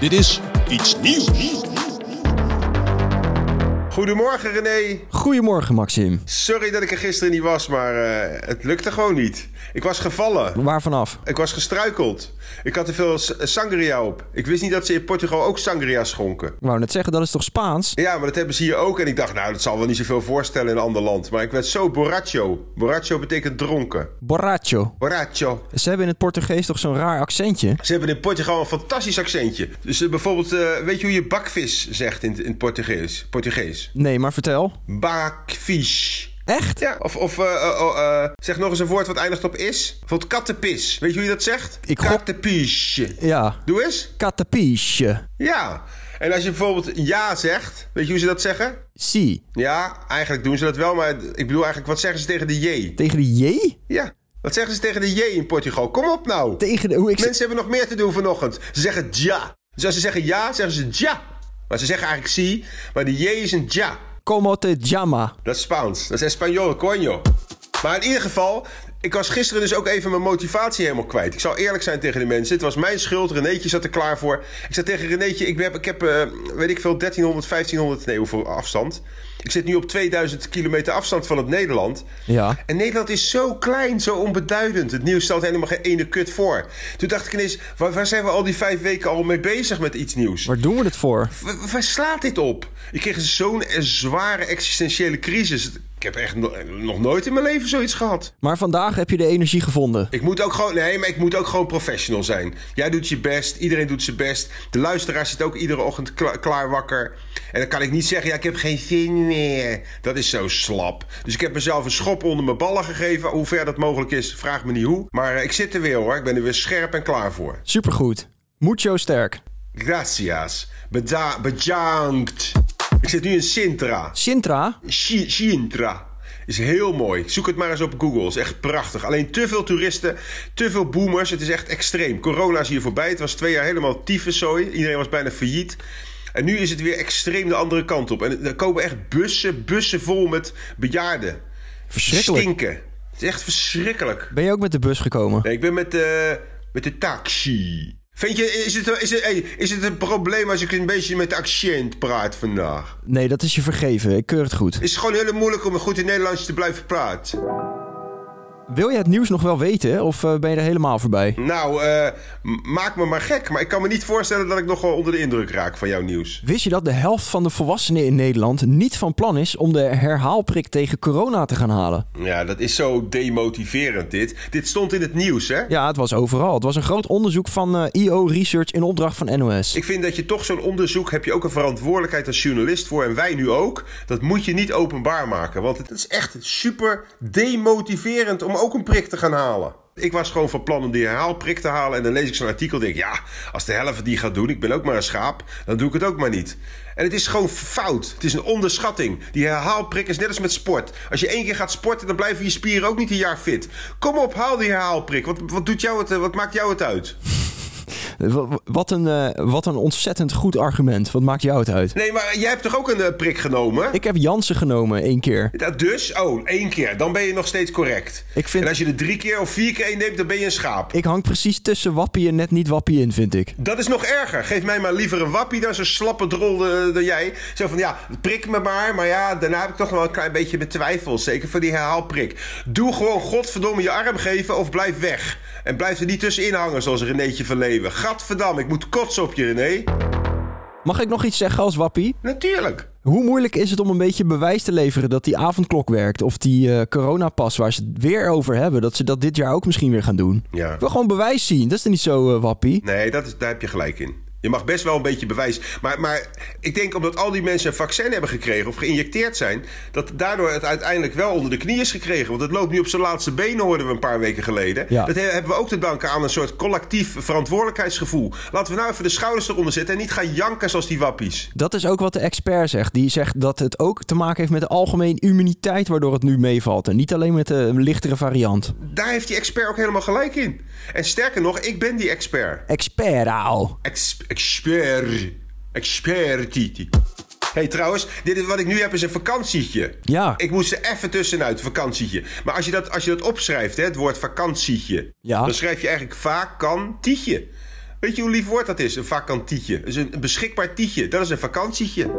Dit is iets nieuws. Goedemorgen René. Goedemorgen, Maxim. Sorry dat ik er gisteren niet was, maar eh, het lukte gewoon niet. Ik was gevallen. Waar vanaf? Ik was gestruikeld. Ik had te veel s- sangria op. Ik wist niet dat ze in Portugal ook sangria schonken. Ik wou net zeggen, dat is toch Spaans? Ja, maar dat hebben ze hier ook. En ik dacht, nou, dat zal wel niet zoveel voorstellen in een ander land. Maar ik werd zo borracho. Borracho betekent dronken. Borracho. Borracho. Ze hebben in het Portugees toch zo'n raar accentje? Ze hebben in Portugal een fantastisch accentje. Dus eh, bijvoorbeeld, eh, weet je hoe je bakvis zegt in, in het Portugees? Portugees. Nee, maar vertel. Bakvis. Echt? Ja, of, of eh, eh, oh, eh, zeg nog eens een woord wat eindigt op is. Bijvoorbeeld kattenpis. Weet je hoe je dat zegt? Ik gok- Kattenpiesje. Ja. Doe eens. Catapiche. Ja. En als je bijvoorbeeld ja zegt, weet je hoe ze dat zeggen? Si. Ja, eigenlijk doen ze dat wel, maar ik bedoel eigenlijk, wat zeggen ze tegen de J? Tegen de J? Ja, wat zeggen ze tegen de J in Portugal? Kom op nou. Tegen de... Hoe ik... Mensen hebben nog meer te doen vanochtend. Ze zeggen ja. Dus als ze zeggen ja, zeggen ze ja. Maar ze zeggen eigenlijk si, maar de J is een ja. Como te llama? Dat is Spaans. Dat is Espanol, coño. Maar in ieder geval, ik was gisteren dus ook even mijn motivatie helemaal kwijt. Ik zal eerlijk zijn tegen de mensen. Het was mijn schuld. Renéetje zat er klaar voor. Ik zei tegen Renéetje, ik heb, ik heb eh, weet ik veel, 1300, 1500, nee hoeveel afstand. Ik zit nu op 2000 kilometer afstand van het Nederland. Ja. En Nederland is zo klein, zo onbeduidend. Het nieuws stelt helemaal geen ene kut voor. Toen dacht ik ineens, waar, waar zijn we al die vijf weken al mee bezig met iets nieuws? Waar doen we het voor? Wa- Waar slaat dit op? Ik kreeg zo'n eh, zware existentiële crisis. Ik heb echt no- nog nooit in mijn leven zoiets gehad. Maar vandaag heb je de energie gevonden. Ik moet ook gewoon, nee, maar ik moet ook gewoon professional zijn. Jij doet je best, iedereen doet zijn best. De luisteraar zit ook iedere ochtend kla- klaar wakker. En dan kan ik niet zeggen, ja, ik heb geen zin meer. Dat is zo slap. Dus ik heb mezelf een schop onder mijn ballen gegeven. Hoe ver dat mogelijk is, vraag me niet hoe. Maar eh, ik zit er weer hoor. Ik ben er weer scherp en klaar voor. Supergoed. Mucho sterk. Gracias. Beda- bedankt. Ik zit nu in Sintra. Sintra? Shi- Sintra. Is heel mooi. Zoek het maar eens op Google. Is echt prachtig. Alleen te veel toeristen, te veel boomers. Het is echt extreem. Corona is hier voorbij. Het was twee jaar helemaal tyfuszooi. Iedereen was bijna failliet. En nu is het weer extreem de andere kant op. En er komen echt bussen, bussen vol met bejaarden. Verschrikkelijk. Stinken. Het is echt verschrikkelijk. Ben je ook met de bus gekomen? Nee, ik ben met de, met de taxi. Vind je, is het, is, het, hey, is het een probleem als ik een beetje met de accent praat vandaag? Nee, dat is je vergeven. Ik keur het goed. Is het gewoon heel moeilijk om goed in Nederlands te blijven praten? Wil je het nieuws nog wel weten? Of eh, ben je er helemaal voorbij? Nou, eh, m- maak me maar gek. Maar ik kan me niet voorstellen dat ik nog wel onder de indruk raak van jouw nieuws. Wist je dat de helft van de volwassenen in Nederland niet van plan is om de herhaalprik tegen corona te gaan halen? Ja, dat is zo demotiverend dit. Dit stond in het nieuws, hè? Ja, het was overal. Het was een groot onderzoek van eh, IO Research in opdracht van NOS. Ik vind dat je toch zo'n onderzoek heb je ook een verantwoordelijkheid als journalist voor. En wij nu ook. Dat moet je niet openbaar maken. Want het is echt super demotiverend om ook een prik te gaan halen. Ik was gewoon van plan om die herhaalprik te halen. En dan lees ik zo'n artikel. Denk ik, ja, als de helft het niet gaat doen, ik ben ook maar een schaap. Dan doe ik het ook maar niet. En het is gewoon fout. Het is een onderschatting. Die herhaalprik is net als met sport. Als je één keer gaat sporten, dan blijven je spieren ook niet een jaar fit. Kom op, haal die herhaalprik. Wat, wat, doet jou het, eh, wat maakt jou het uit? W- Wat een, eh, wat een ontzettend goed argument. Wat maakt jou het uit? Nee, maar jij hebt toch ook een eh, prik genomen? Ik heb Jansen genomen één keer. Dat dus, oh, één keer. Dan ben je nog steeds correct. Ik vind- En als je er drie keer of vier keer een neemt, dan ben je een schaap. Ik hang precies tussen wappie en net niet wappie in, vind ik. Dat is nog erger. Geef mij maar liever een wappie dan zo'n slappe drol eh, dan jij. Zo van, ja, prik me maar. Maar ja, daarna heb ik toch wel een klein beetje mijn twijfels. Zeker voor die herhaalprik. Doe gewoon godverdomme je arm geven of blijf weg. En blijf er niet tussenin hangen zoals Renéetje van Leeuwen. gadverdamme, ik moet kotsen op je, René. Mag ik nog iets zeggen als wappie? Natuurlijk. Hoe moeilijk is het om een beetje bewijs te leveren dat die avondklok werkt? Of die eh, coronapas waar ze het weer over hebben, dat ze dat dit jaar ook misschien weer gaan doen? Ja. Ik wil gewoon bewijs zien. Dat is er niet zo, eh, wappie. Nee, dat is, daar heb je gelijk in. Je mag best wel een beetje bewijs. Maar, maar ik denk omdat al die mensen een vaccin hebben gekregen of geïnjecteerd zijn, dat daardoor het uiteindelijk wel onder de knie is gekregen. Want het loopt nu op zijn laatste benen, hoorden we een paar weken geleden. Ja. Dat he- hebben we ook te danken aan een soort collectief verantwoordelijkheidsgevoel. Laten we nou even de schouders eronder zetten en niet gaan janken zoals die wappies. Dat is ook wat de expert zegt. Die zegt dat het ook te maken heeft met de algemene immuniteit waardoor het nu meevalt. En niet alleen met de lichtere variant. Daar heeft die expert ook helemaal gelijk in. En sterker nog, ik ben die expert. Expert, auw. Ex- expert. Expertiti. hey, trouwens, dit is, wat ik nu heb is een vakantietje. Ja. Ik moest er even tussenuit, vakantietje. Maar als je dat, als je dat opschrijft, hè, het woord vakantietje... Ja. dan schrijf je eigenlijk vakantietje. Weet je hoe lief woord dat is, een vakantietje? Dat is een, een beschikbaar tietje, dat is een vakantietje.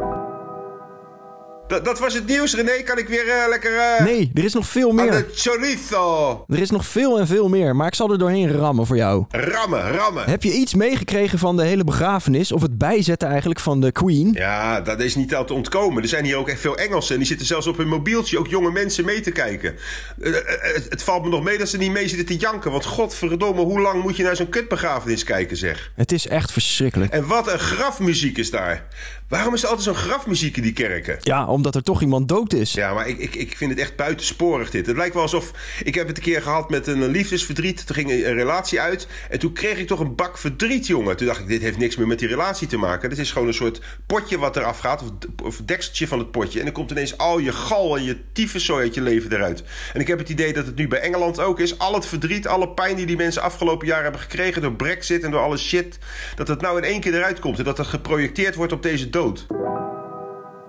Dat, dat was het nieuws, René. Kan ik weer eh, lekker... eh, Nee, er is nog veel aan meer. de chorizo. Er is nog veel en veel meer, maar ik zal er doorheen rammen voor jou. Rammen, rammen. Heb je iets meegekregen van de hele begrafenis? Of het bijzetten eigenlijk van de Queen? Ja, dat is niet aan te ontkomen. Er zijn hier ook echt veel Engelsen. En die zitten zelfs op hun mobieltje ook jonge mensen mee te kijken. Eh, eh, het, het valt me nog mee dat ze niet mee zitten te janken. Want godverdomme, hoe lang moet je naar zo'n kutbegrafenis kijken, zeg? Het is echt verschrikkelijk. En wat een grafmuziek is daar. Waarom is er altijd zo'n grafmuziek in die kerken? Ja, omdat er toch iemand dood is. Ja, maar ik, ik, ik vind het echt buitensporig dit. Het lijkt wel alsof... Ik heb het een keer gehad met een eh, liefdesverdriet. Toen ging een relatie uit. En toen kreeg ik toch een bak verdriet, jongen. Toen dacht ik, dit heeft niks meer met die relatie te maken. Dit is gewoon een soort potje wat eraf gaat. Of, of dekseltje van het potje. En dan komt ineens al je gal en je tyfuszooi uit je leven eruit. En ik heb het idee dat het nu bij Engeland ook is. Al het verdriet, alle pijn die die mensen afgelopen jaar hebben gekregen... door brexit en door alle shit. Dat het nou in één keer eruit komt. En dat dat geprojecteerd wordt op deze dood.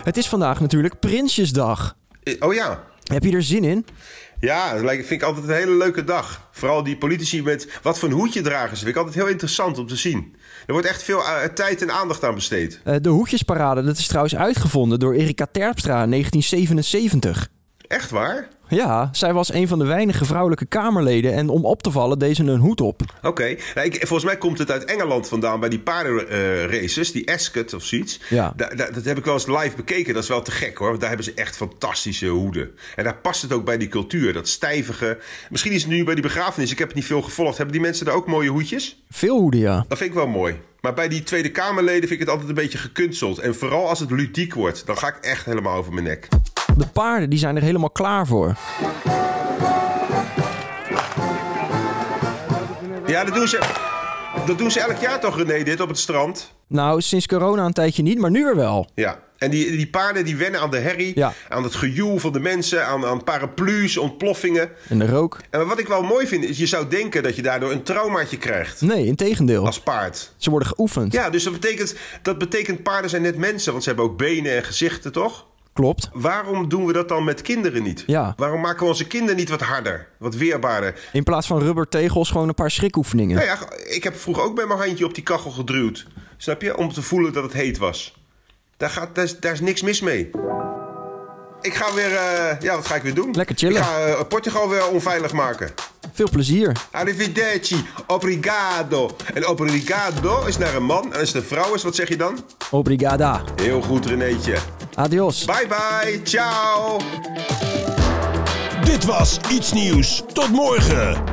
Het is vandaag natuurlijk Prinsjesdag. Eh, Oh ja, Heb je er zin in? Ja, dat lijkt- vind ik altijd een hele leuke dag. Vooral die politici met wat voor een hoedje dragen ze. Vind ik altijd heel interessant om te zien. Er wordt echt veel eh, tijd en aandacht aan besteed. Eh, de Hoekjesparade, dat is trouwens uitgevonden door Erika Terpstra in 1977. Echt waar? Ja, zij was een van de weinige vrouwelijke Kamerleden en om op te vallen deed ze een hoed op. Oké. Nou, ik- volgens mij komt het uit Engeland vandaan bij die paardenraces. die Ascot of zoiets. Ja. Da- da- dat heb ik wel eens live bekeken. Dat is wel te gek hoor. Want daar hebben ze echt fantastische hoeden. En daar past het ook bij die cultuur. Dat stijvige. Misschien is het nu bij die begrafenis. Ik heb het niet veel gevolgd. Hebben die mensen daar ook mooie hoedjes? Veel hoeden, ja. Dat vind ik wel mooi. Maar bij die Tweede Kamerleden vind ik het altijd een beetje gekunsteld. En vooral als het ludiek wordt, dan ga ik echt helemaal over mijn nek. De paarden die zijn er helemaal klaar voor. Ja, dat doen ze, dat doen ze elk jaar toch, René, dit op het strand? Nou, sinds corona een tijdje niet, maar nu weer wel. Ja. En die, die paarden die wennen aan de herrie, Ja. aan het gejoel van de mensen, aan, aan paraplu's, ontploffingen. En de rook? En wat ik wel mooi vind, is je zou denken dat je daardoor een traumaatje krijgt Nee, integendeel. als paard. Ze worden geoefend. Ja, dus dat betekent, dat betekent paarden zijn net mensen, want ze hebben ook benen en gezichten, toch? Klopt. Waarom doen we dat dan met kinderen niet? Ja. Waarom maken we onze kinderen niet wat harder, wat weerbaarder? In plaats van rubbertegels gewoon een paar schrikoefeningen. Nou ja, ik heb vroeger ook bij mijn handje op die kachel geduwd. Snap je? Om te voelen dat het heet was. Daar, gaat, daar, is, daar is niks mis mee. Ik ga weer... eh, ja, wat ga ik weer doen? Lekker chillen. Ik ga eh, Portugal weer onveilig maken. Veel plezier. Arrivederci, obrigado. En obrigado is naar een man. En als het een vrouw is, wat zeg je dan? Obrigada. Heel goed, Renéetje. Adios. Bye bye, ciao. Dit was Iets Nieuws. Tot morgen.